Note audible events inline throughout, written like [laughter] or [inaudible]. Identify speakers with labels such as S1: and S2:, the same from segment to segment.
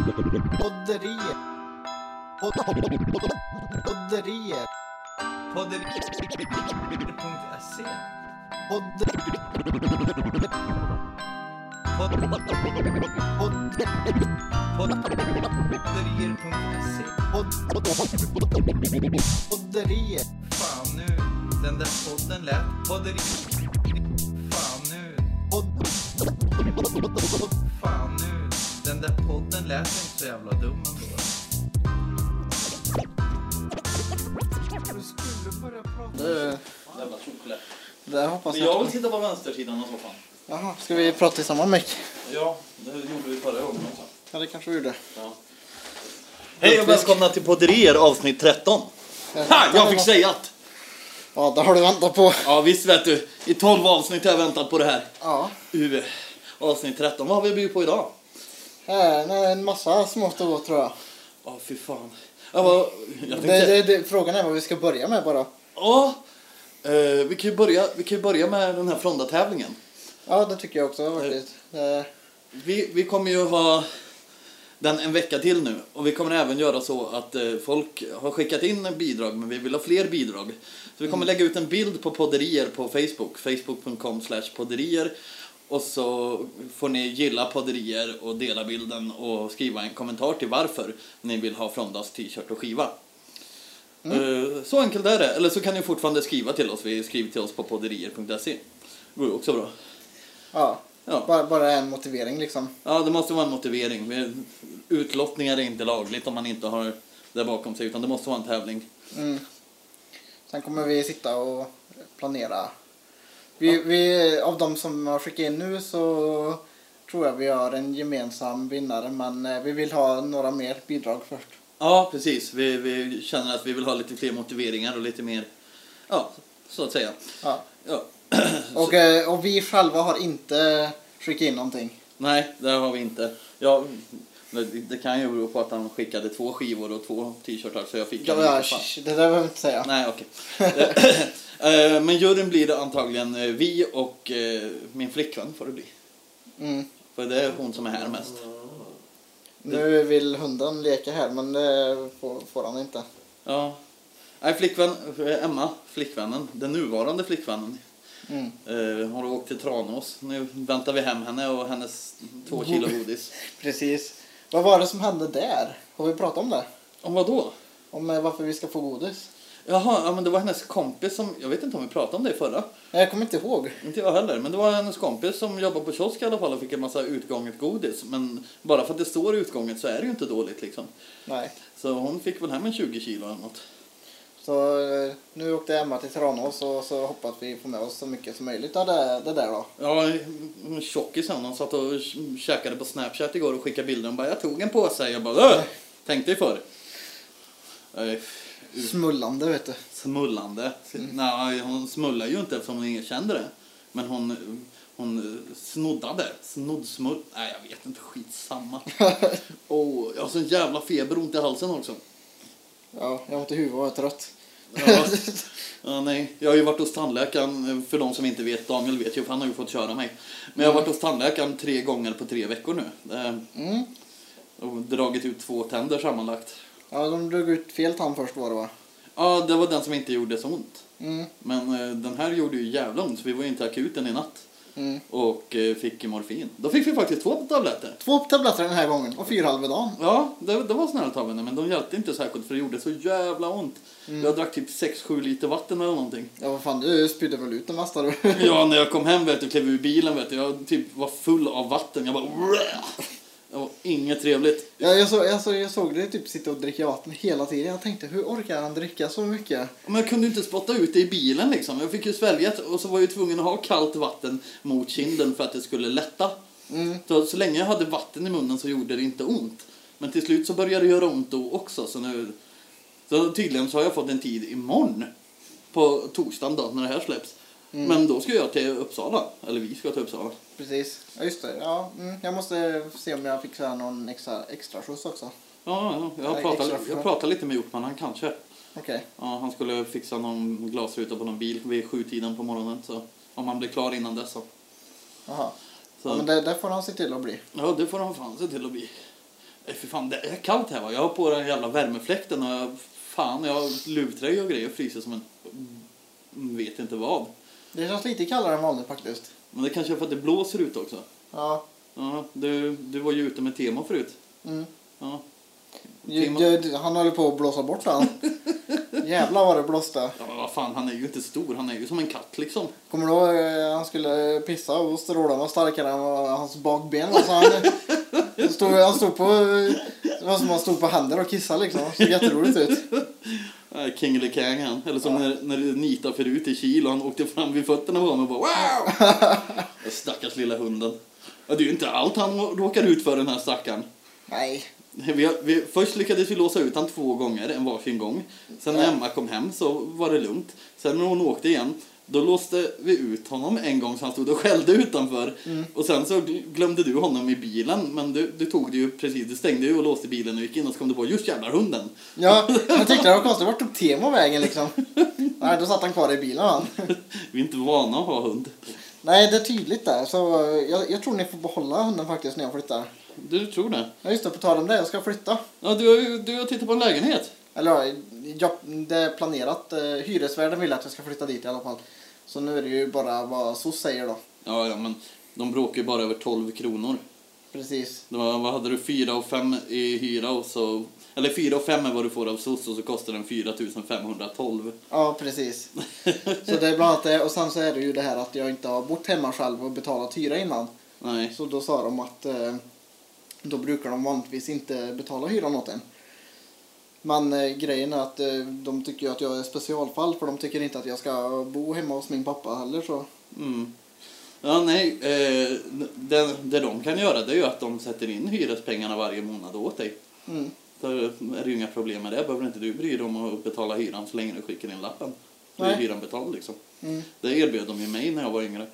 S1: Podderier. Podderier.
S2: Podderier.se
S1: Podder... Podd...
S2: Podderier.se
S1: Podd... Podderier.
S2: Fan nu, den där podden lät podderier. Fan nu,
S1: Podd...
S2: fan nu, den där podden lät inte så jävla dum ändå. Du skulle börja prata.
S3: Du,
S4: Jävla tokläpp.
S3: där hoppas
S4: Men jag
S3: jag.
S4: vill titta på vänstersidan av soffan.
S3: Jaha, ska vi prata i samma mick?
S4: Ja, det gjorde vi förra gången också.
S3: Ja, det kanske vi gjorde.
S4: Ja. Hej och välkomna till Podderier avsnitt 13. Ha! Jag fick säga att!
S3: Ja, det har du väntat på.
S4: Ja visst vet du, i 12 avsnitt har jag väntat på det här.
S3: Ja.
S4: Uve. Avsnitt 13, vad har vi bjudit på idag?
S3: Här, nej, en massa smått och gott tror jag.
S4: Ja fy fan. Jag, var, jag
S3: Det,
S4: tänkte...
S3: det, det, frågan är vad vi ska börja med bara.
S4: Ja! Eh, vi, kan ju börja, vi kan ju börja med den här Fronda-tävlingen.
S3: Ja, det tycker jag också har varit lite. Eh,
S4: Vi, vi kommer ju ha den en vecka till nu och vi kommer även göra så att eh, folk har skickat in en bidrag men vi vill ha fler bidrag. Så vi kommer lägga ut en bild på podderier på Facebook, facebook.com slash podderier och så får ni gilla podderier och dela bilden och skriva en kommentar till varför ni vill ha Frondas t-shirt och skiva. Eh, Så enkelt är det, eller så kan ni fortfarande skriva till oss, vi skriver till oss på podderier.se. Det går ju också bra.
S3: Ja,
S4: Ja.
S3: bara, bara en motivering liksom.
S4: Ja, det måste vara en motivering. Vi- Utlottningar är inte lagligt om man inte har det bakom sig, utan det måste vara en tävling.
S3: Mm. Sen kommer vi sitta och planera. Vi, vi, av de som har skickat in nu så tror jag vi har en gemensam vinnare men eh, vi vill ha några mer bidrag först.
S4: Ja, precis. Vi, vi känner att vi vill ha lite fler motiveringar och lite mer, ja, så att säga.
S3: Ja.
S4: Ja.
S3: Och, eh, och vi själva har inte skickat in någonting.
S4: Nej, det har vi inte. Ja, det, det kan ju bero på att han skickade två skivor och två t-shirtar, så jag fick
S3: Ja,
S4: en
S3: ja,
S4: liten fan.
S3: sh- det där behöver vi inte säga.
S4: Nej, okej. [laughs] Eh, Men juryn blir det antagligen eh, vi och eh, min flickvän får det bli.
S3: Mm.
S4: För det är hon som är här mest.
S3: Nu vill hunden leka här men det får, får han inte.
S4: Ja. Nej, flickvän, eh, Emma, flickvännen, den nuvarande flickvännen,
S3: Mm.
S4: eh, har åkt till Tranås. Nu väntar vi hem henne och hennes två kilo godis.
S3: Precis. Vad var det som hände där? Har vi pratat om det?
S4: Om vad då?
S3: Om eh, varför vi ska få godis?
S4: Jaha, ja, men det var hennes kompis som, jag vet inte om vi pratade om det i förra,
S3: Nej, Jag kommer inte ihåg.
S4: inte jag heller, men det var hennes kompis som jobbade på kiosk i alla fall och fick en massa utgånget godis. Men bara för att det står utgånget så är det ju inte dåligt liksom.
S3: Nej.
S4: Så hon fick väl hem en 20 kilo eller något.
S3: Så eh, nu åkte Emma till Tranås och så hoppas vi får med oss så mycket som möjligt av det, det där då.
S4: Ja, en tjockis han. Han satt och käkade på Snapchat igår och skickade bilder. Han bara, jag tog en påse. Jag bara, "Äh, "Åh!" tänk dig för. Eh,
S3: Smullande vet du.
S4: Smullande. Nej, hon smullar ju inte eftersom hon erkände det. Men hon, hon snoddade. Snoddsmull. Nej, jag vet inte. Skitsamma. oh, jag har sån jävla feber och ont i halsen också.
S3: Ja, jag har ont i huvudet och jag är trött.
S4: Ja. Ja, nej. Jag har ju varit hos tandläkaren, för de som inte vet, Daniel vet ju för han har ju fått köra mig. Men jag har varit hos tandläkaren tre gånger på tre veckor nu. Eh,
S3: Mm.
S4: Och dragit ut två tänder sammanlagt.
S3: Ja, de drog ut fel tand först var det va?
S4: Ja, det var den som inte gjorde så ont.
S3: Mm.
S4: Men eh, den här gjorde ju jävla ont, så vi var ju inte i akuten i natt.
S3: Mm.
S4: Och eh, fick morfin. Då fick vi faktiskt två tabletter.
S3: Två tabletter den här gången och fyra halva dagen.
S4: Ja, det, det var snällt av henne, men de hjälpte inte särskilt för det gjorde så jävla ont. Jag drack typ 6-7 liter vatten eller någonting.
S3: Ja, vad fan, du spydde väl ut det mesta du.
S4: Ja, när jag kom hem vet du, klev ur bilen vet du, jag typ var full av vatten. Jag bara... Det var inget trevligt.
S3: Ja, jag, så, jag, så, jag såg dig typ sitta och dricka vatten hela tiden. Jag tänkte, hur orkar han dricka så mycket?
S4: Men jag kunde inte spotta ut det i bilen liksom. Jag fick ju svälja och så var jag ju tvungen att ha kallt vatten mot kinden för att det skulle lätta.
S3: Mm.
S4: Så, så länge jag hade vatten i munnen så gjorde det inte ont. Men till slut så började det göra ont då också. Så, nu, så tydligen så har jag fått en tid imorgon. På torsdagen då, när det här släpps. Men då ska jag till Uppsala. Eller vi ska till Uppsala.
S3: Precis. Ja, just det. Ja, mm. Jag måste se om jag fixar någon extra, extra skjuts också.
S4: Ja, ja, jag
S3: Nej,
S4: pratade,
S3: extra
S4: jag
S3: från-
S4: pratade lite med Hjortman, han kanske.
S3: Okej.
S4: Ja, han skulle fixa någon glasruta på någon bil vid sjutiden på morgonen. Så om han blir klar innan dess så.
S3: Jaha.
S4: Så,
S3: Ja, men det, det får han se till att bli.
S4: Ja, det får de fan se till att bli. Eh, Fy fan, det är kallt här va. Jag har på den jävla värmefläkten och jag, fan, jag har luvtröja och grejer och fryser som en... mm, Vet inte vad.
S3: Det känns lite kallare än vanligt faktiskt.
S4: Men det kanske är för att det blåser ute också.
S3: Ja.
S4: Ja, du, du var ju ute med tema förut.
S3: Mm.
S4: Ja.
S3: Ju-
S4: Timo-
S3: ju- Han håller på att blåsa bort han. Jävlar vad det blåste.
S4: ja, men vad fan, han är ju inte stor. Han är ju som en katt liksom.
S3: Kommer du ihåg eh, han skulle pissa och strålen var starkare än vad hans bakben var. Så han, stod, han stod på... eh, Det var som han stod på händer och kissade liksom. Det såg jätteroligt ut.
S4: Äh, Kingeli-kang han. Eller som när, när Nita för ut i Kil och han åkte fram vid fötterna på honom och bara wow! Stackars lilla hunden. Ja, det är ju inte allt han råkar ut för den här stackaren.
S3: Nej.
S4: Vi, vi, först lyckades vi låsa ut han två gånger, en varsin gång. Sen när
S3: Ja.
S4: Emma kom hem så var det lugnt. Sen när hon åkte igen, då låste vi ut honom en gång så han stod och skällde utanför. Och sen så gl- glömde du honom i bilen, men du, du tog det ju precis, du stängde ju och låste bilen och gick in och så kom det på just jävlar hunden. [laughs]
S3: Ja, jag tyckte det var konstigt. Vart tog Temo vägen liksom? Nej, då satt han kvar i bilen han.
S4: Vi är inte vana att ha hund.
S3: Nej, det är tydligt där. Så eh, jag, jag tror ni får behålla hunden faktiskt när jag flyttar.
S4: Du tror det?
S3: Ja, just det. På tal om det. Jag ska flytta.
S4: Ja, du har ju du har tittat på en lägenhet.
S3: Eller ja, jag, det är planerat. Eh, Hyresvärden vill att jag ska flytta dit i alla fall. Så nu är det ju bara vad SOS säger då.
S4: Ja, ja, men de bråkar ju bara över 12 kronor.
S3: Precis.
S4: Det var, vad hade du, 4 och 5 i hyra och så... Eller 4 och 5 är vad du får av SOS och så kostar den 4 512.
S3: Ja, precis. Så det är bland annat det. Och sen så är det ju det här att jag inte har bott hemma själv och betalat hyra innan.
S4: Nej.
S3: Så då sa de att eh, då brukar de vanligtvis inte betala hyran åt en. Men eh, grejen är att eh, de tycker ju att jag är specialfall för de tycker inte att jag ska bo hemma hos min pappa heller så.
S4: Mm. Ja, nej. Eh, det, det de kan göra det är ju att de sätter in hyrespengarna varje månad åt dig.
S3: Mm.
S4: Då är det ju inga problem med det. Behöver inte du bry dig om att betala hyran så länge du skickar in lappen. Då är
S3: Nej.
S4: hyran betald liksom.
S3: Mm.
S4: Det erbjöd de ju mig när jag var yngre.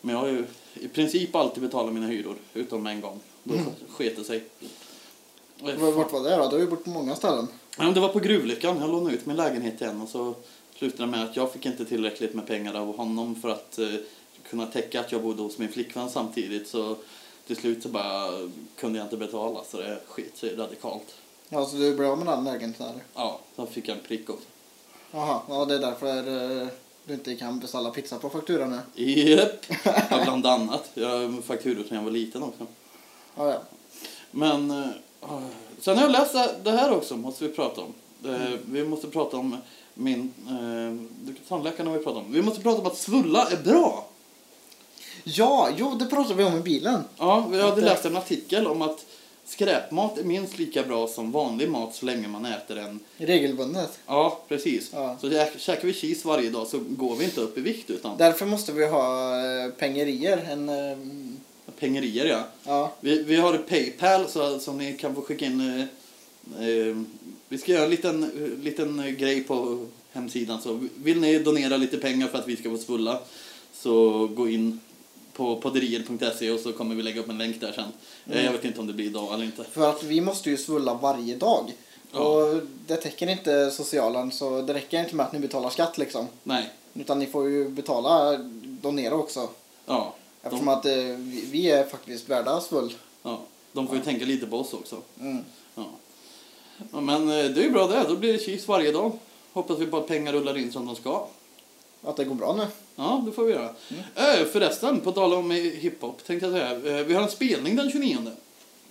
S4: Men jag har ju i princip alltid betalat mina hyror, utom en gång. Då sket det sig. Och jag-
S3: Vart vart Mm. var det då? Du har ju bott på många ställen.
S4: Ja, men det var på gruvlyckan. Jag lånade ut min lägenhet igen och så slutade det med att jag fick inte tillräckligt med pengar av honom för att eh, kunna täcka att jag bodde hos min flickvän samtidigt. Så till slut så bara kunde jag inte betala så det sket sig radikalt.
S3: Ja, så Alltså, du blev av med den lägenheten eller?
S4: Ja, då fick jag en prick också.
S3: Jaha, ja det är därför eh, du inte kan beställa pizza på fakturan nu. [laughs]
S4: Japp! Ja, bland annat. Jag har fakturor sedan jag var liten också.
S3: Ja, ja.
S4: Men eh, ah, sen har jag läst det- det här också, måste vi prata om. Eh, Vi måste prata om min... Eh, det- tandläkaren har vi pratat om. Vi måste prata om att svulla är bra.
S3: Ja, jo det pratade vi om i bilen.
S4: Ja, vi hade
S3: Inte.
S4: läst en artikel om att skräpmat är minst lika bra som vanlig mat så länge man äter den.
S3: Regelbundet.
S4: Ja, precis.
S3: Ja.
S4: Så käk- käkar vi cheese varje dag så går vi inte upp i vikt utan
S3: Därför måste vi ha eh, pengerier. En, eh,
S4: pengerier ja.
S3: ja.
S4: Vi, vi har Paypal så, som ni kan få skicka in. Eh, eh, vi ska göra en liten, eh, liten eh, grej på hemsidan. Så vill ni donera lite pengar för att vi ska få svulla så gå in på podderier.se och så kommer vi lägga upp en länk där sen. Eh, Jag vet inte om det blir idag eller inte.
S3: För att vi måste ju svulla varje dag.
S4: Ja.
S3: Och det täcker inte socialen så det räcker inte med att ni betalar skatt liksom.
S4: Nej.
S3: Utan ni får ju betala, eh, donera också.
S4: Ja.
S3: Eftersom att eh, vi vi är faktiskt värda svull.
S4: Ja, de får ju tänka lite på oss också.
S3: Mm.
S4: Ja. Ja, men eh, det är ju bra det, då blir det cheese varje dag. Hoppas vi bara att pengar rullar in som de ska.
S3: Att det går bra nu.
S4: Ja, det får vi göra. Eh, Förresten, på tal om eh, hiphop tänkte jag säga. eh, Vi har en spelning den 29.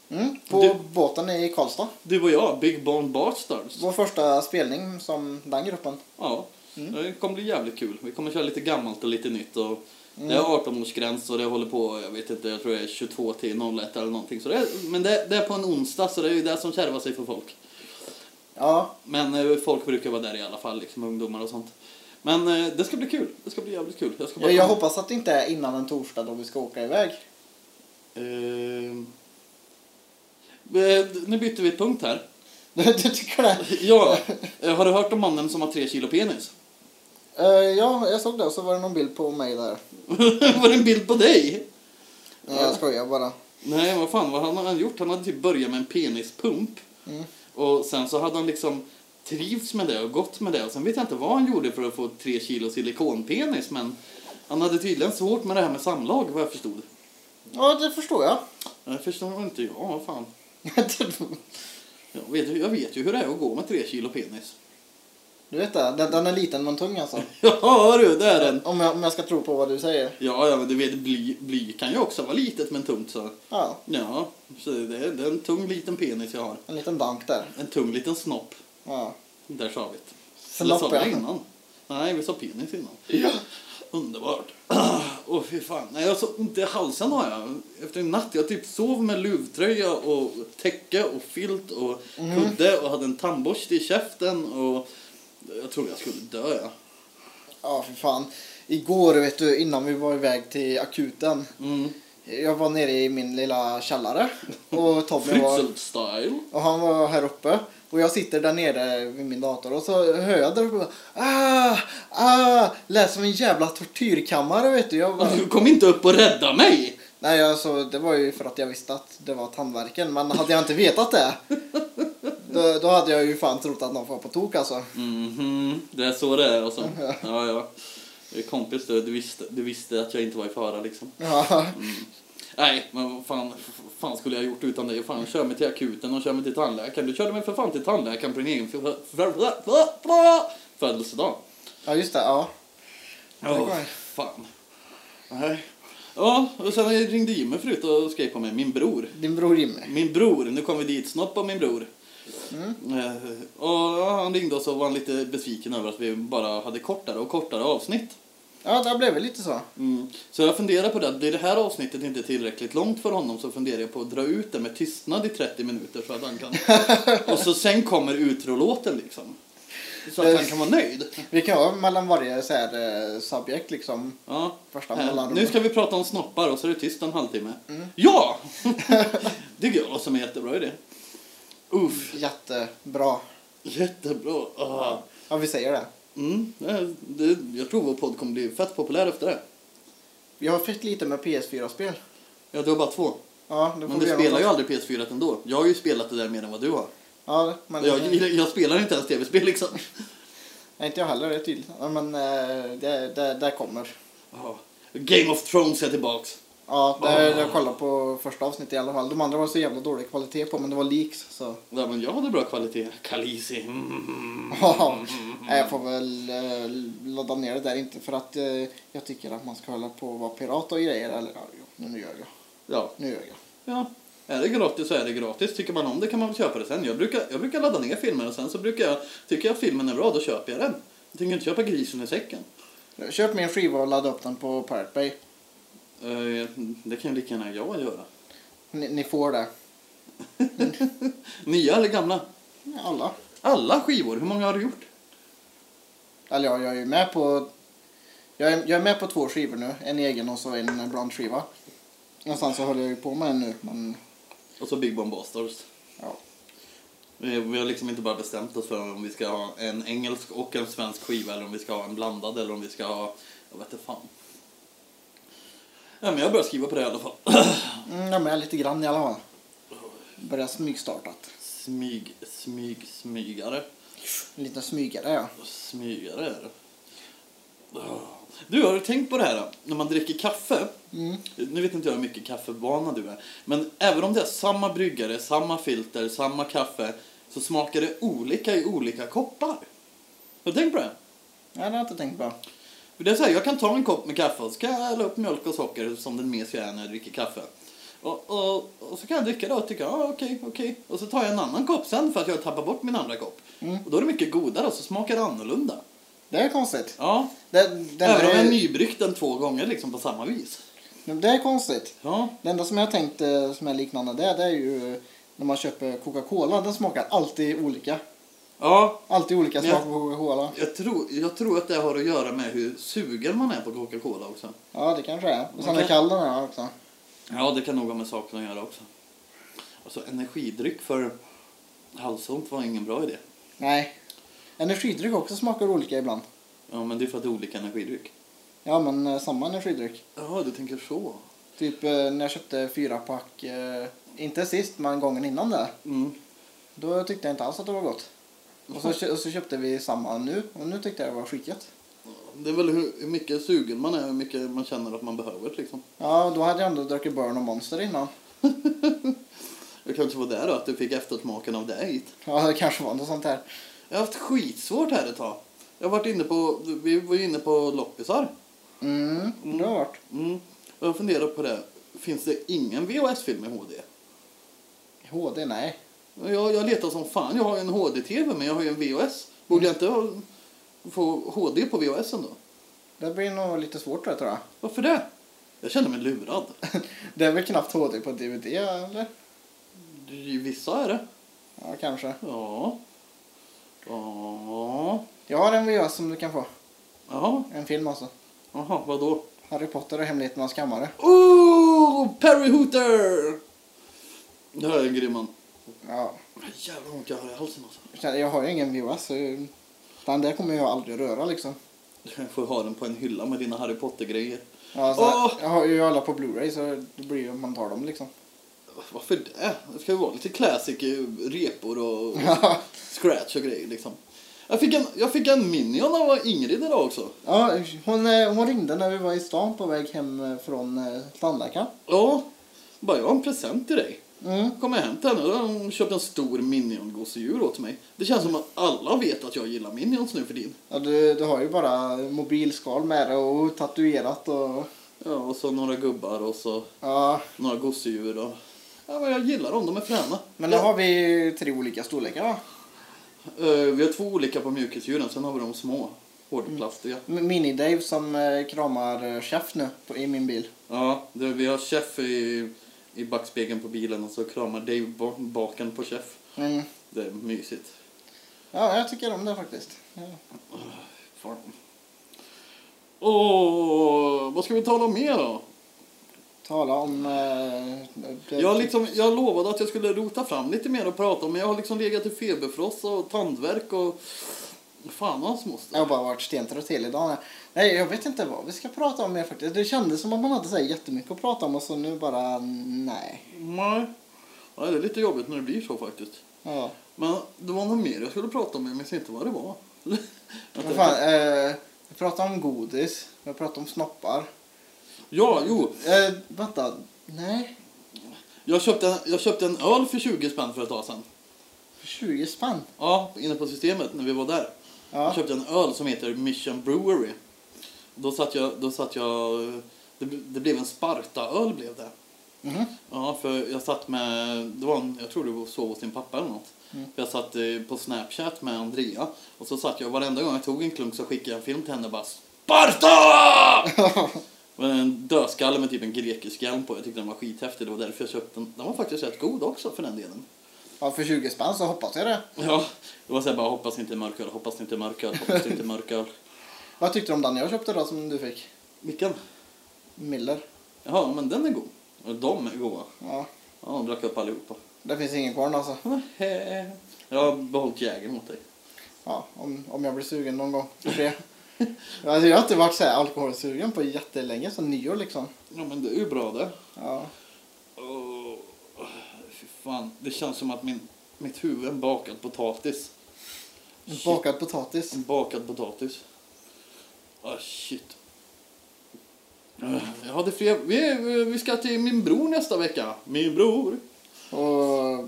S3: Mm. På
S4: Du-
S3: båten i Karlstad.
S4: Du och jag, Big Bone Bastards.
S3: Vår första spelning som den gruppen.
S4: Ja, det kommer bli jävligt kul. Vi kommer köra lite gammalt och lite nytt. Och Det är 18-årsgräns och det håller på, jag vet inte, jag tror det är 22 till 01 eller någonting. Så det är, men det, det är på en onsdag så det är ju det som kärvar sig för folk.
S3: Ja,
S4: Men eh, folk brukar vara där i alla fall, liksom ungdomar och sånt. Men eh, det ska bli kul. Det ska bli jävligt kul. Jag ska
S3: jag, jag hoppas att det inte är innan en torsdag då vi ska åka iväg. [laughs]
S4: Ehm. Eh, nu byter vi punkt här.
S3: du tycker det?
S4: Ja, eh, har du hört om mannen som har tre kilo penis? [laughs]
S3: Eh, ja, jag såg det och så var det någon bild på mig där.
S4: var det en bild på dig?
S3: Nej, jag skojar bara.
S4: Nej, vad fan, vad han hade gjort? Han hade typ börjat med en penispump.
S3: Mm.
S4: Och sen så hade han liksom trivts med det och gått med det. Och sen vet jag inte vad han gjorde för att få tre kilo silikonpenis, men han hade tydligen svårt med det här med samlag, vad jag förstod.
S3: Ja, det förstår [laughs] jag.
S4: Det förstår inte jag. Vad fan. Jag vet, ju- jag vet ju hur det är att gå med tre kilo penis. [laughs]
S3: du vet det, den, den är liten men tung alltså.
S4: Ja du, det är den.
S3: Om jag, om jag ska tro på vad du säger.
S4: Ja, ja men du vet, bly, bly kan ju också vara litet men tungt så.
S3: Ja,
S4: Ja, så det är, det är en tung liten penis jag har.
S3: en liten dank där.
S4: En tung liten snopp.
S3: Ja.
S4: Där sa vi det. Eller
S3: Snopp,
S4: sa vi det
S3: ja.
S4: innan? Nej, vi sa penis innan. Underbart. [clears throat] Åh fy fan. Nej, jag så ont i halsen har jag. Efter en natt. Jag typ sov med luvtröja och täcke och filt och kudde och hade en tandborste i käften och jag trodde jag skulle dö. Ja.
S3: Ja, för fan. Igår, vet du, innan vi var iväg till akuten.
S4: Mm.
S3: Jag var nere i min lilla källare. Och Tommy var,
S4: Fritzl-style.
S3: och han var här uppe. Och jag sitter där nere vid min dator och så hör jag där uppe. Ah, ah, lät som en jävla tortyrkammare vet du.
S4: [laughs]
S3: Jag bara,
S4: Alltså, Du kom inte upp och rädda mig!
S3: nej, alltså, det var ju för att jag visste att det var tandvärken. Men hade jag inte vetat det.
S4: [laughs]
S3: Då, då hade jag ju fan trott att någon var på tok alltså.
S4: Mhm, det är så det är alltså. Ja, ja. Det är Kompis du, du visste, du visste att jag inte var i fara liksom.
S3: Ja, [laughs]
S4: Nej, men vad fan, vad fan skulle jag gjort utan dig? Fan, kör mig till akuten och kör mig till tandläkaren. Du körde mig för fan till tandläkaren på din egen för- för- för- för- för- födelsedag.
S3: ja just det. Ja.
S4: Åh,
S3: Tack.
S4: fan. Nej. Ja, och sen ringde Jimmy förut och skrev på mig, min bror.
S3: Din bror Jimmy.
S4: Min bror, nu kom vi dit, snopp av min bror. Eh, Och han ringde och så var han lite besviken över att vi bara hade kortare och kortare avsnitt.
S3: Ja, det blev väl lite så.
S4: Mm. Så jag funderar på det, att blir det här avsnittet inte tillräckligt långt för honom så funderar jag på att dra ut det med tystnad i 30 minuter så att han kan... och så sen kommer utrolåten liksom. Så att han kan vara nöjd.
S3: Vi kan ha mellan varje så här, eh, subjekt liksom.
S4: Ja.
S3: Första
S4: Här,
S3: mellanrummet.
S4: nu ska vi prata om snoppar och så är det tyst en halvtimme. Ja! det tycker jag låter som en jättebra idé. Uff,
S3: Jättebra.
S4: jättebra. Ah.
S3: Ja, vi säger det.
S4: Mm. det- det- Jag tror vår podd kommer bli fett populär efter det.
S3: Jag har fett lite med PS4-spel.
S4: Ja, du har bara två.
S3: Ja, då får
S4: Men
S3: vi
S4: du
S3: göra
S4: spelar
S3: något.
S4: ju aldrig PS4 ändå. Jag har ju spelat det där mer än vad du har.
S3: Ja, men
S4: Jag,
S3: eh,
S4: jag, jag spelar inte ens tv-spel liksom.
S3: nej, inte jag heller, det är tydligt. Ja, men eh, det, det, det kommer.
S4: Ja. Game of Thrones är tillbaks.
S3: Ja, det, jag kollade på första avsnittet i alla fall. De andra var så jävla dålig kvalitet på, men det var leaks. Så.
S4: Ja, men jag hade bra kvalitet. Khaleesi. Mm.
S3: Ja, nej, jag får väl eh, ladda ner det där. Inte för att eh, jag tycker att man ska hålla på och vara pirat och grejer. Eller, ja, jo, nu gör jag.
S4: Ja.
S3: Nu gör jag.
S4: ja. Är det gratis så är det gratis. Tycker man om det kan man väl köpa det sen. Jag brukar, jag brukar ladda ner filmer och sen så brukar jag... Tycker jag filmen är bra, då köper jag den. Jag tänker inte köpa grisen i säcken.
S3: Köp min skiva och ladda upp den på Pirate Bay.
S4: Eh, Det kan ju lika gärna jag göra.
S3: Ni, ni får det. Mm.
S4: [laughs] Nya eller gamla?
S3: Alla.
S4: Alla skivor. Hur många har du gjort?
S3: Eller ja, jag är ju med på... Jag är, jag är med på två skivor nu. En egen och så en brandskiva. Och sen så håller jag ju på med en nu, men...
S4: Och så Big Bomb Bastards.
S3: Ja.
S4: Vi, vi har liksom inte bara bestämt oss för om vi ska ha en engelsk och en svensk skiva eller om vi ska ha en blandad eller om vi ska ha... Jag vet inte fan. Ja, men jag börjar skriva på det i alla fall. [coughs]
S3: Mm, jag är med lite grann i alla fall. Börjar smygstartat.
S4: Smyg, smyg, smygare.
S3: En liten smygare, ja.
S4: Smygare är det. Du, har du tänkt på det här då? När man dricker kaffe.
S3: Mm.
S4: Nu vet inte jag hur mycket kaffevana du är. Men även om det är samma bryggare, samma filter, samma kaffe. Så smakar det olika i olika koppar. Har du tänkt på det?
S3: Ja, det har jag inte tänkt på.
S4: För Det är så här, jag kan ta en kopp med kaffe och så kan jag hälla upp mjölk och socker som den mes jag är när jag dricker kaffe. Och, och, och så kan jag dricka det och tycka, ja ah, okej, okej. Och så tar jag en annan kopp sen för att jag tappar bort min andra kopp.
S3: Mm.
S4: Och då är det mycket godare och så smakar det annorlunda.
S3: Det är konstigt.
S4: Ja,
S3: Det, den
S4: även om jag
S3: är,
S4: nybryggt den två gånger liksom på samma vis.
S3: det är konstigt.
S4: Ja,
S3: Det enda som jag har tänkt eh, som är liknande det, det är ju eh, när man köper Coca-Cola. Den smakar alltid olika.
S4: ja
S3: Alltid olika
S4: Men
S3: smak
S4: jag-
S3: på Coca-Cola.
S4: jag, tror, jag tror att det har att göra med hur sugen man är på Coca-Cola också.
S3: Ja, det kanske är. Och sen
S4: Okej.
S3: är kall den här också.
S4: Ja, det kan nog ha med saken att göra också. Alltså energidryck för halsont var ingen bra idé.
S3: Nej. Energidryck också smakar olika ibland.
S4: Ja, men det är för att det är olika energidryck.
S3: Ja, men eh, samma energidryck.
S4: Ja, du tänker så.
S3: Typ eh, när jag köpte fyra pack, eh, inte sist men gången innan det.
S4: Mm.
S3: Då tyckte jag inte alls att det var gott. Och så, kö- och så köpte vi samma nu och nu tyckte jag det var skitgött.
S4: Det är väl hur, hur mycket sugen man är, hur mycket man känner att man behöver liksom. [laughs]
S3: Ja, då hade jag ändå druckit Burn och Monster innan. [laughs]
S4: Det kanske var där då, att du fick eftersmaken av det hit.
S3: Ja, det kanske var något sånt här.
S4: Jag har haft skitsvårt här ett tag. Jag har varit inne på, vi var ju inne på loppisar.
S3: Mm, det har varit.
S4: Mm. Och jag funderar på det, finns det ingen VHS-film i HD?
S3: HD, nej.
S4: Jag, jag letar som fan, jag har ju en HD-TV men jag har ju en VHS. Borde jag inte ha- få HD på VHS då?
S3: Det blir nog lite svårt tror jag, tror jag.
S4: Varför det? Jag känner mig lurad.
S3: Det är väl knappt HD på DVD, eller?
S4: Vissa är det.
S3: Ja, kanske.
S4: Ja. Ja.
S3: Jag har en VHS som du kan få.
S4: Jaha,
S3: En film alltså.
S4: jaha, vadå?
S3: Harry Potter och Hemligheternas kammare.
S4: Oh, Perry Hooter! Det här är en grym man.
S3: Ja.
S4: Jävlar vad ont jag har i halsen alltså.
S3: Jag har ju ingen VHS. så Den där kommer jag aldrig röra liksom.
S4: Jag får ha den på en hylla med dina Harry Potter-grejer.
S3: Ja, så
S4: Åh!
S3: Jag har ju alla på Blu-ray så det blir ju man tar dem liksom.
S4: Varför det? Det ska ju vara lite classic eh, repor och
S3: ja,
S4: scratch och grejer liksom. Jag fick en, jag fick en Minion av Ingrid idag också.
S3: hon, eh, hon ringde när vi var i stan på väg hem eh, från eh, tandläkaren.
S4: Ja, bara jag har en present till dig.
S3: Mm.
S4: Kom jag hem till henne och hon köpte en stor Minion-gosedjur åt mig. Det känns som att alla vet att jag gillar Minions nu för din.
S3: Ja, du, du har ju bara mobilskal med det och tatuerat och...
S4: Ja, och så några gubbar och så
S3: Ja,
S4: några gosedjur och... Ja, men jag gillar dem, de är fräna.
S3: men då
S4: Ja.
S3: har vi tre olika storlekar va?
S4: Eh, vi har två olika på mjukisdjuren, sen har vi de små. Hårdplastiga.
S3: M- Mini-Dave som eh, kramar eh, chef nu på, i min bil.
S4: Ja, det, vi har Chef i, i backspegeln på bilen och så kramar Dave ba- baken på Chef.
S3: Mm.
S4: Det är mysigt.
S3: Ja, jag tycker om det faktiskt. Ja.
S4: Fan. Åh, vad ska vi tala om mer då?
S3: Tala om... Eh, det-
S4: Jag, liksom, jag lovade att jag skulle rota fram lite mer och prata om, men jag har liksom legat i feberfrossa och tandvärk och... Fan hans moster.
S3: Jag har bara varit stentrött hela dagen. Nej, jag vet inte vad vi ska prata om mer faktiskt. Det kändes som att man hade så här jättemycket att prata om och så nu bara nej.
S4: Nej. Ja, det är lite jobbigt när det blir så faktiskt.
S3: Ja.
S4: Men det var något mer jag skulle prata om, men jag minns inte vad det var. [laughs]
S3: Vad fan, eh, vi pratade om godis, vi pratade om snoppar.
S4: Ja, jo.
S3: Eh, vänta, nej.
S4: Jag köpte, en, jag köpte en öl för 20 spänn för ett tag sedan.
S3: För 20 spänn.
S4: Ja, inne på systemet när vi var där. Jag
S3: Ja.
S4: köpte en öl som heter Mission Brewery. Då satt jag... Då satt jag det, det blev en Sparta-öl blev det.
S3: Mhm.
S4: Ja, för jag satt med... Det var en, jag tror det var sov hos din pappa eller något.
S3: Mm.
S4: Jag satt eh, på Snapchat med Andrea. Och så satt jag varenda gång jag tog en klunk så skickade jag en film till henne och bara SPARTA! Men en dödskalle med typ en grekisk hjälm på. Jag tyckte den var skithäftig. Det var därför jag köpte den. Den var faktiskt rätt god också för den delen.
S3: [laughs] ja, för 20 spänn så hoppas jag det.
S4: Ja, det var så här bara hoppas inte mörköl, hoppas inte mörköl, hoppas inte mörköl.
S3: Vad tyckte du om den jag köpte då som du fick?
S4: Vilken?
S3: Miller.
S4: Jaha, men den är god. Och De är goda.
S3: Ja.
S4: Ja, de drack upp allihopa.
S3: Det finns ingen kvar nu, alltså.
S4: Nähä. Jag har behållit jägern åt dig.
S3: Ja, om, om jag blir sugen någon gång. Får se. alltså, jag har inte varit så här alkoholsugen på jättelänge, så nyår liksom.
S4: Ja, men det är ju bra det.
S3: Ja.
S4: Åh, fy fan. Det känns som att min, mitt huvud är en bakad potatis.
S3: En
S4: Shit.
S3: Bakad potatis.
S4: En bakad potatis. Ah, shit. Ah, Jag hade fler. Vi, vi ska till min bror nästa vecka. Min bror.
S3: Och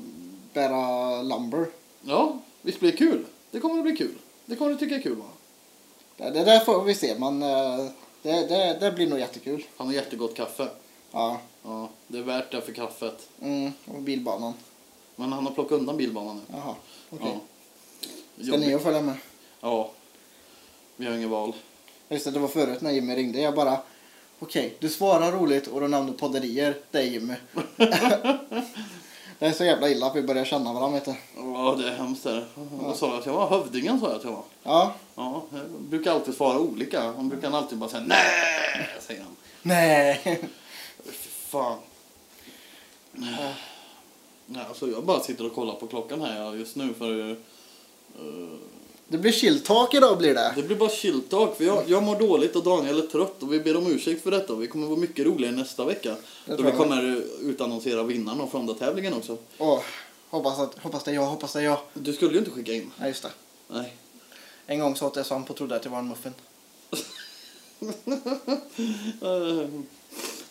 S3: bära lumber.
S4: Ja, visst blir det kul? Det kommer att bli kul. Det kommer du tycka är kul va?
S3: Det, det där får vi se, men eh, det, det, det blir nog jättekul.
S4: Han har jättegott kaffe.
S3: Ja.
S4: Ja, det är värt det för kaffet.
S3: Mm, och bilbanan.
S4: Men han har plockat undan bilbanan nu.
S3: Jaha, okej.
S4: Ja.
S3: Ska ni
S4: Jobbigt.
S3: och följa med?
S4: Ja. Vi har inget val.
S3: Just det, det var förut när Jimmy ringde. Jag bara, okej, du svarar roligt och du nämner podderier. Det är
S4: [laughs]
S3: Jimmy. det är så jävla illa att vi börjar känna varandra, vet du.
S4: Ja, det är hemskt det. Vad sa jag att jag var? Hövdingen sa jag att jag var.
S3: Ja.
S4: Ja, jag brukar alltid svara olika. Han brukar alltid bara säga nej, säger han.
S3: Nej.
S4: Fy fan. Nej, alltså jag bara sitter och kollar på klockan här just nu för eh,
S3: Det blir chilltak idag blir det.
S4: Det blir bara chilltalk för jag, jag mår dåligt och Daniel är trött och vi ber om ursäkt för detta och vi kommer vara mycket roligare nästa vecka.
S3: Det
S4: Då
S3: tror
S4: vi
S3: jag.
S4: kommer eh, utannonsera vinnaren av Fronda-tävlingen också.
S3: Åh, hoppas, att, hoppas det är jag, hoppas det är jag.
S4: Du skulle ju inte skicka in.
S3: Nej, just det.
S4: Nej. [laughs]
S3: En gång så åt jag svamp och trodde att det var en muffin.
S4: Eh,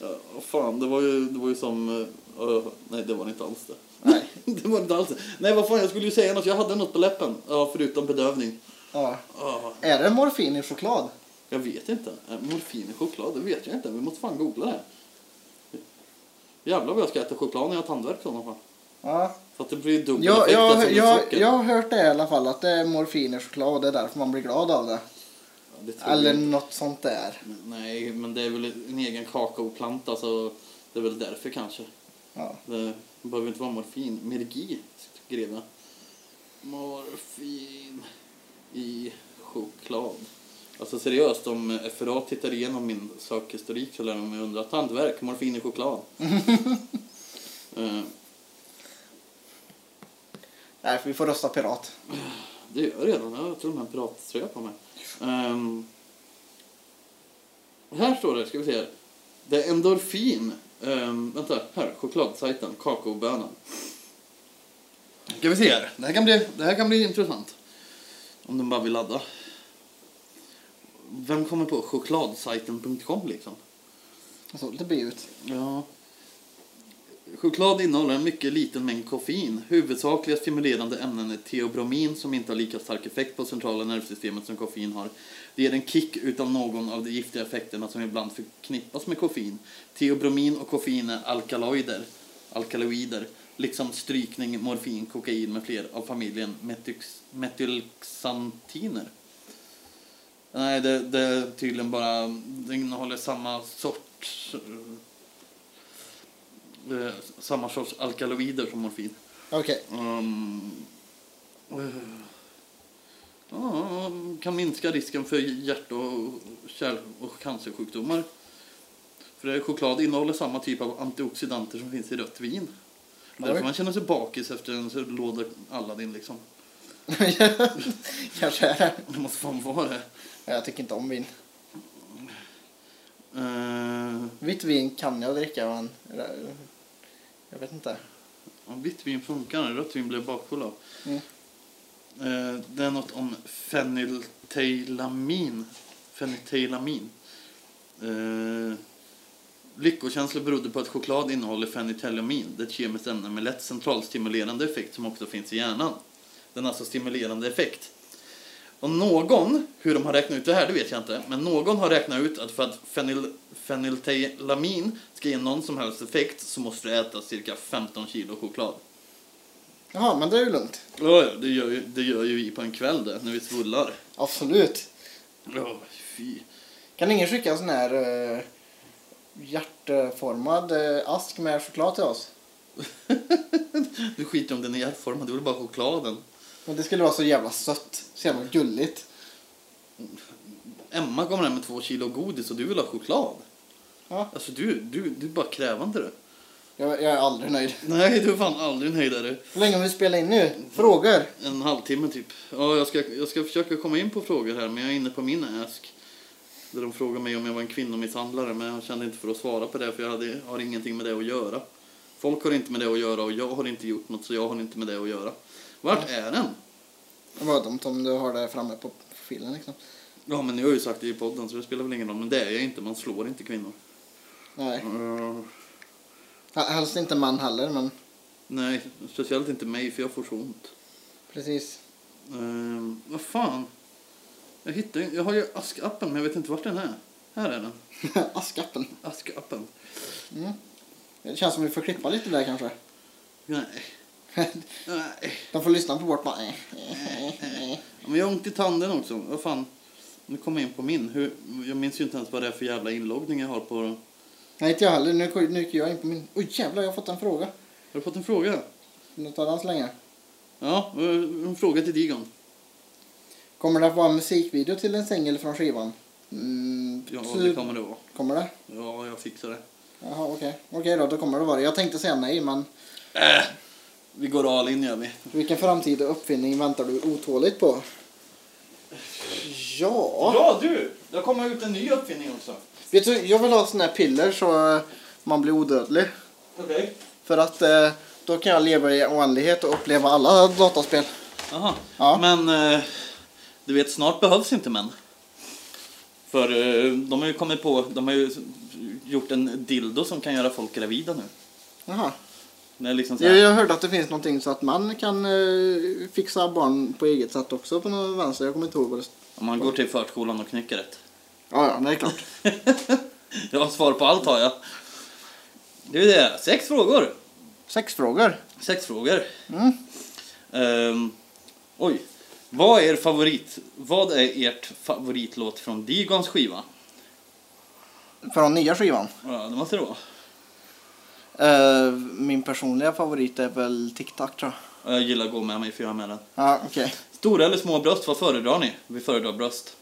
S4: Ja, fan, det var ju, det var ju som... eh, nej, det var det inte alls det.
S3: Nej.
S4: [laughs] det var det inte alls det. Nej, vad fan, jag skulle ju säga något. Jag hade något på läppen. Ja, förutom bedövning.
S3: Ja.
S4: Ja,
S3: Är det morfin i choklad?
S4: jag vet inte. Eh, Morfin i choklad, det vet jag inte. Vi måste fan googla det. Jävlar vad jag ska äta choklad när jag har tandvärk i sådana fall.
S3: Ja.
S4: Så att det blir dubbel
S3: Jag,
S4: effekt alltså,
S3: jag,
S4: med
S3: jag,
S4: socker.
S3: jag har hört det i alla fall att det är morfin i choklad och det är därför man blir glad av det.
S4: Ja, det tror jag
S3: Eller
S4: inte.
S3: något sånt där.
S4: Men Nej, men det är väl en egen kakaoplanta så det är väl därför kanske.
S3: Ja.
S4: Det behöver inte vara morfin. Mergi skrev jag. Morfin i choklad. Alltså seriöst, om FRA tittar igenom min sökhistorik så lär de mig undra. Tandvärk, morfin i choklad. Eh,
S3: Nej, för vi får rösta pirat.
S4: det gör jag redan. Jag tror de har en piratströja på mig. Ehm, här står det, ska vi se här. Det är endorfin. Ehm, vänta, här. Chokladsajten, kakaobönan. Ska vi se här. Det här kan bli, det här kan bli intressant. Om de bara vill ladda. Vem kommer på chokladsajten.com liksom?
S3: Jag såg lite bi ut.
S4: Ja. Choklad innehåller en mycket liten mängd koffein. Huvudsakliga stimulerande ämnen är teobromin som inte har lika stark effekt på centrala nervsystemet som koffein har. Det ger en kick utan någon av de giftiga effekterna som ibland förknippas med koffein. Teobromin och koffein är alkaloider, alkaloider liksom strykning, morfin, kokain med fler av familjen metyx, metylxantiner. Nej, det, det är tydligen bara, det innehåller samma sorts eh, Eh, samma sorts alkaloider som morfin.
S3: Okej. [laughs]
S4: Um, eh, ja, kan minska risken för hjärt och kärl och cancersjukdomar. För eh, choklad innehåller samma typ av antioxidanter som finns i rött vin. Därför
S3: Oj.
S4: man känner sig bakis efter en så låda Aladdin liksom.
S3: Kanske är det.
S4: Det måste fan vara det.
S3: Ja, Jag tycker inte om vin.
S4: Eh,
S3: Vitt vin kan jag dricka, men... eh, Jag vet inte.
S4: Ja, vitt vin funkar, rött vin blir jag bakfull av.
S3: Mm.
S4: Eh, det är något om fenyltalamin. Fenyltalamin. Eh, lyckokänslor berodde på att choklad innehåller fenyltalamin. Det är ett kemiskt ämne med lätt centralstimulerande effekt som också finns i hjärnan. Den har alltså stimulerande effekt. Och någon, hur de har räknat ut det här, det vet jag inte. Men någon har räknat ut att för att fenyl, fenyltalamin ska ge någon som helst effekt så måste du äta cirka 15 kilo choklad.
S3: Jaha, men det är ju lugnt.
S4: Ja, ja, det gör ju, det gör ju vi på en kväll det, när vi svullar.
S3: Absolut.
S4: Ja, fy. [laughs]
S3: Kan ingen skicka en sån här eh, hjärtformad eh, ask med choklad till oss?
S4: Du skiter om den är hjärtformad, du vill bara chokladen.
S3: Men det skulle vara så jävla sött. Så jävla gulligt.
S4: Emma kommer hem med två kilo godis och du vill ha choklad.
S3: Ja.
S4: Alltså du, du, du är bara krävande du.
S3: Jag, jag är aldrig nöjd.
S4: Nej, du är fan aldrig nöjdare.
S3: Hur länge har vi spelat in nu? Frågor?
S4: En halvtimme typ. Ja, jag ska, jag ska försöka komma in på frågor här, men jag är inne på min ask. Där de frågar mig om jag var en kvinnomisshandlare, men jag kände inte för att svara på det, för jag hade, har ingenting med det att göra. Folk har inte med det att göra och jag har inte gjort något, så jag har inte med det att göra. Vart är den?
S3: Vad dumt om du har det framme på profilen liksom.
S4: Ja, men nu har jag ju sagt det i podden, så det spelar väl ingen roll. Men det är jag inte, man slår inte kvinnor.
S3: Nej. Hel- Helst inte man heller, men
S4: nej, speciellt inte mig, för jag får så ont.
S3: precis. [laughs]
S4: Ehm, vad fan? Jag hittar ju- Jag har ju askappen, men jag vet inte vart den är. Här är den.
S3: Askappen.
S4: Askappen.
S3: Mm. Det känns som vi får klippa lite där kanske. [laughs]
S4: Nej. Nej.
S3: De får lyssna på vårt bara... eh, eh, eh.
S4: Ja, Men jag har ont i tanden också. Vad fan. Nu kommer jag in på min. Hur, jag minns ju inte ens vad det är för jävla inloggning jag har på. Har
S3: Nej, inte jag heller. Nu, kom- nu gick jag in på min... Oj jävlar, jag har fått en fråga.
S4: du fått en fråga?
S3: Något annat så länge.
S4: Ja, eh, en fråga till Digon.
S3: Kommer det att vara en musikvideo till en singel från skivan? Mm,
S4: Ja,
S3: så-
S4: det kommer det vara.
S3: Kommer det?
S4: Ja, jag fixar det.
S3: Jaha, okej. Okej då, då kommer det vara det. Jag tänkte säga nej, men
S4: Vi går all in gör vi.
S3: vilken framtida uppfinning väntar du otåligt på? Ja.
S4: Ja du! Det har kommit ut en ny uppfinning också.
S3: Vet du, jag vill ha såna här piller så eh, man blir odödlig.
S4: Okej.
S3: För att eh, då kan jag leva i oändlighet och uppleva alla dataspel.
S4: Jaha.
S3: Ja.
S4: Men eh, du vet, snart behövs inte män. För eh, de har ju kommit på, de har ju gjort en dildo som kan göra folk gravida nu.
S3: Jaha.
S4: Det är liksom så här,
S3: Jag, jag hörde att det finns någonting så att man kan eh, fixa barn på eget sätt också på någon vänster. Jag kommer inte ihåg vad det stod.
S4: Om man går till förskolan och knycker ett.
S3: Ja, ja, det är klart. [laughs]
S4: [laughs] Jag har svar på allt har jag. Det är det. Sex frågor.
S3: Sex frågor.
S4: Sex frågor.
S3: Mm.
S4: Ehm, oj. Vad är er favorit? Vad är ert favoritlåt från Digons skiva?
S3: För den nya skivan.
S4: Ja, det måste det vara.
S3: Eh, min personliga favorit är väl Tic Tac tror jag.
S4: Ja, Jag gillar Gå med mig för jag är med den.
S3: Ja, okej.
S4: Stora eller små bröst, vad föredrar ni? Vi föredrar bröst.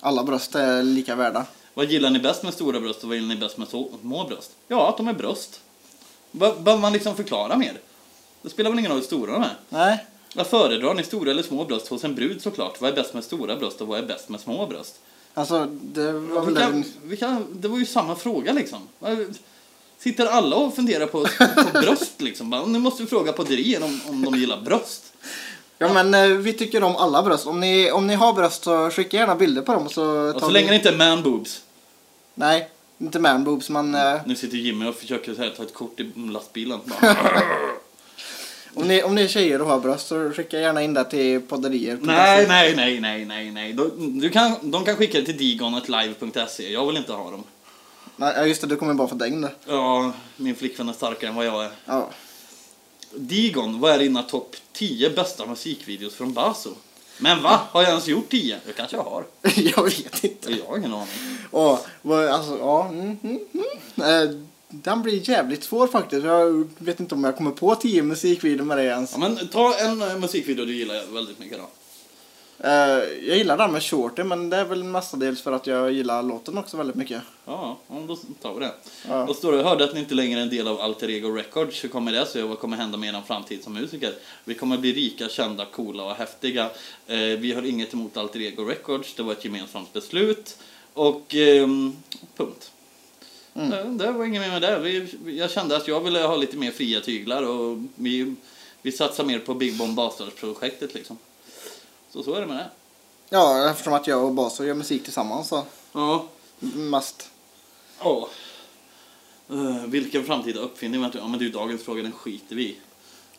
S3: Alla bröst är lika värda.
S4: Vad gillar ni bäst med stora bröst och vad gillar ni bäst med så- små bröst? Ja, att de är bröst. Be- Behöver man liksom förklara mer? Det spelar väl ingen roll hur stora de är?
S3: Nej.
S4: Vad föredrar ni, stora eller små bröst hos en brud såklart? Vad är bäst med stora bröst och vad är bäst med små bröst?
S3: Alltså, det var väl
S4: Vilka,
S3: en...
S4: vilka, det var ju samma fråga liksom. Vad- Sitter alla och funderar på, på bröst liksom? Bara, Nu måste vi fråga på Drier om, om de gillar bröst.
S3: Ja, men eh, vi tycker om alla bröst. Om ni, om ni har bröst så skicka gärna bilder på dem. Så
S4: Och
S3: tar
S4: så
S3: vi-
S4: länge det inte är man boobs.
S3: Nej, inte man boobs, men eh,
S4: Nu sitter Jimmy och försöker så här, ta ett kort i lastbilen. Bara,
S3: om, ni, om ni är tjejer och har bröst så skicka gärna in det till podderier.
S4: nej, nej, nej, nej, nej, nej. De, du kan, de kan skicka det till digonetlive.se. Jag vill inte ha dem.
S3: Nej, ja, just det, du kommer bara få däng det.
S4: Ja, min flickvän är starkare än vad jag är.
S3: Ja. [laughs]
S4: Digon, vad är dina topp 10 bästa musikvideos från Baso? Men va? Har jag ens gjort 10? Det kanske jag har.
S3: jag vet inte.
S4: Jag har ingen aning.
S3: Åh, vad, alltså, ja. Mm, mm, mm. Eh, den blir jävligt svår faktiskt. Jag vet inte om jag kommer på tio musikvideor med det ens.
S4: Ja, men ta en eh, musikvideo du gillar väldigt mycket då.
S3: Eh, jag gillar den med Shorty, men det är väl mestadels för att jag gillar låten också väldigt mycket.
S4: Ja, ja, då tar vi det.
S3: Ja.
S4: Då står det, jag hörde att ni inte längre är en del av Alter Ego Records. Hur kommer det sig och vad kommer hända med er framtid som musiker? Vi kommer bli rika, kända, coola och häftiga. Eh, vi har inget emot Alter Ego Records. Det var ett gemensamt beslut. Och ehm, punkt. Eh, Det, det var inget mer med det. Vi, vi- jag kände att jag ville ha lite mer fria tyglar och vi, vi satsar mer på Big Bomb Bastards-projektet liksom. Så så är det med det.
S3: Ja, eftersom att jag och Baso gör musik tillsammans så.
S4: Ja,
S3: Mest.
S4: Ja. Eh, vilken framtida uppfinning väntar Ja men du, dagens fråga den skiter vi i,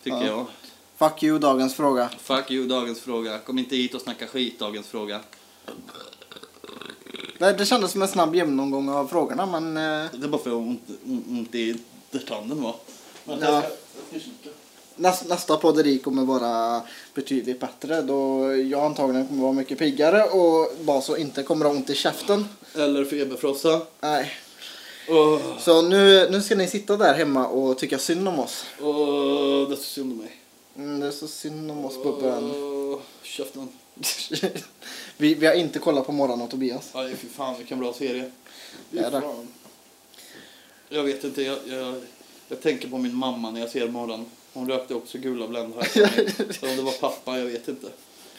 S4: Tycker
S3: Ja.
S4: jag.
S3: Fuck you, dagens fråga.
S4: Fuck you, dagens fråga. Kom inte hit och snacka skit, dagens fråga.
S3: Det, det kändes som en snabb genomgång av frågorna, men... eh,
S4: Det är bara för att ont, ont, ont i tanden va?
S3: Ja. Näst, nästa podderi kommer vara betydligt bättre då jag antagligen kommer vara mycket piggare och Baso inte kommer ha ont i käften.
S4: Eller feberfrossa.
S3: Nej.
S4: Åh,
S3: Så nu, nu ska ni sitta där hemma och tycka synd om oss.
S4: åh, det är så synd om mig.
S3: Mm, det är så synd om oss Bubben.
S4: Åh, Käften.
S3: [laughs] vi, vi har inte kollat på Morran och Tobias.
S4: Aj, fy fan vilken bra serie. Fy
S3: Är det?
S4: fan. Jag vet inte, jag, jag, jag tänker på min mamma när jag ser morgon. Hon rökte också gula Blend har jag för mig. Eller om det var pappa, jag vet inte.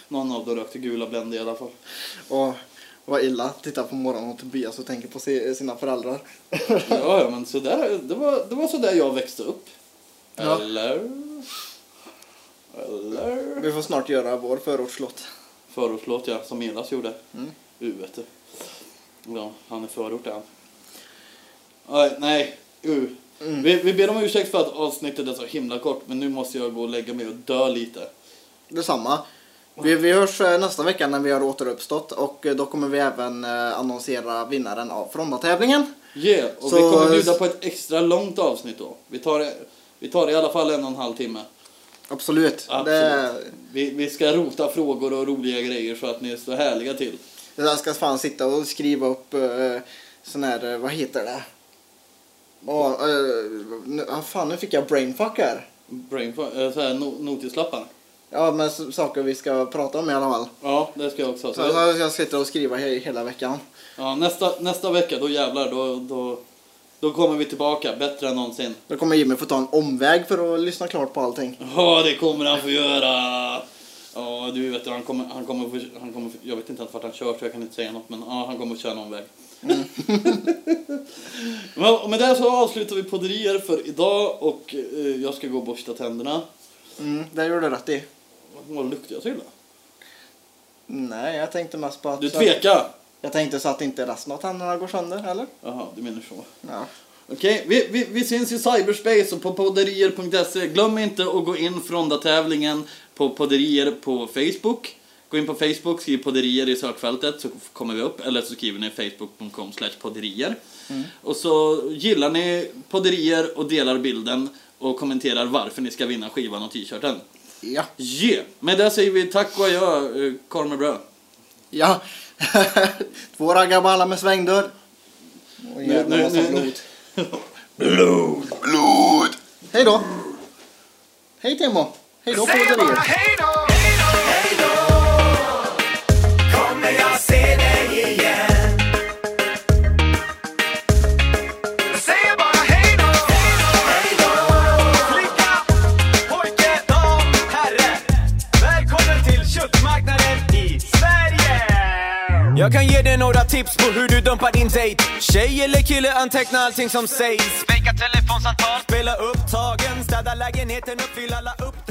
S4: Någon av dem rökte gula Blend i alla fall.
S3: Och vad illa att titta på Morran och Tobias och tänka på se, sina föräldrar.
S4: Ja, ja, men sådär, det var, det var sådär jag växte upp.
S3: Ja.
S4: Eller? Eller?
S3: Vi får snart göra vår förortslott.
S4: Förortslåt ja, som Elas gjorde.
S3: Mm.
S4: Uete. Ja, han är förort är han. Nej, nej, u.
S3: Mm.
S4: Vi, vi ber om ursäkt för att avsnittet är så himla kort, men nu måste jag gå och lägga mig och dö lite.
S3: Detsamma. Vi, vi hörs eh, nästa vecka när vi har återuppstått och eh, då kommer vi även eh, annonsera vinnaren av Fronda-tävlingen.
S4: Yeah, och vi
S3: Så-
S4: kommer bjuda på ett extra långt avsnitt då. Vi tar, vi tar i alla fall en och en halv timme.
S3: Absolut.
S4: Absolut.
S3: Det,
S4: Vi, vi ska rota frågor och roliga grejer så att ni står härliga till.
S3: det där ska fan sitta och skriva upp eh, sån här, eh, vad heter det? Åh, eh, nu, ah, fan, nu fick jag brainfuck här.
S4: Brain, eh, så här, no, notislappar.
S3: Ja, men s- saker vi ska prata om i alla fall.
S4: Ja, det ska jag också ha.
S3: Så
S4: Så,
S3: jag- jag sitter och skriva he- hela veckan.
S4: ja, nästa, nästa vecka, då jävlar, då, då, då kommer vi tillbaka bättre än någonsin.
S3: Då kommer Jimmy få ta en omväg för att lyssna klart på allting.
S4: Ja, det kommer han få göra! Ja, du vet, han kommer, han kommer, få- han kommer, få- jag vet inte ens vart han kör så jag kan inte säga något, men ja, han kommer att köra någon väg. [laughs] Men, och med det så avslutar vi podderier för idag och eh, jag ska gå och borsta tänderna.
S3: Mm, det gör du rätt i.
S4: Vad luktar jag så illa?
S3: Nej, jag tänkte mest på att...
S4: Du tvekar!
S3: Jag tänkte så att inte resten av tänderna går sönder, eller?
S4: Jaha, du menar så.
S3: Ja.
S4: Okej, vi, vi, vi syns i cyberspace och på podderier.se. Glöm inte att gå in från tävlingen på podderier på Facebook. Gå in på Facebook, skriv podderier i sökfältet så kommer vi upp. Eller så skriver ni facebook.com slash podderier. Och så gillar ni podderier och delar bilden och kommenterar varför ni ska vinna skivan och t-shirten.
S3: Ja.
S4: Yeah! Med det säger vi tack och adjö, eh, korv med bröd.
S3: Ja. [laughs] Två raggarballar med svängdörr. Och
S4: Nu-
S3: jävla
S4: nu-
S3: massa
S4: nu- [laughs] nu.
S3: blod. Hej då! Hej Timo! Hej då på återigen!
S5: Kommer jag se dig igen? Jag säger bara hej då! Hej då! Flicka, pojke, dam, herre. Välkommen till köttmarknaden i Sverige!
S6: Jag kan ge dig några tips på hur du dumpar din dejt Tjej eller kille, anteckna allting som sägs Fejka telefonsamtal, spela upp tagen, städa lägenheten, uppfyll alla uppdrag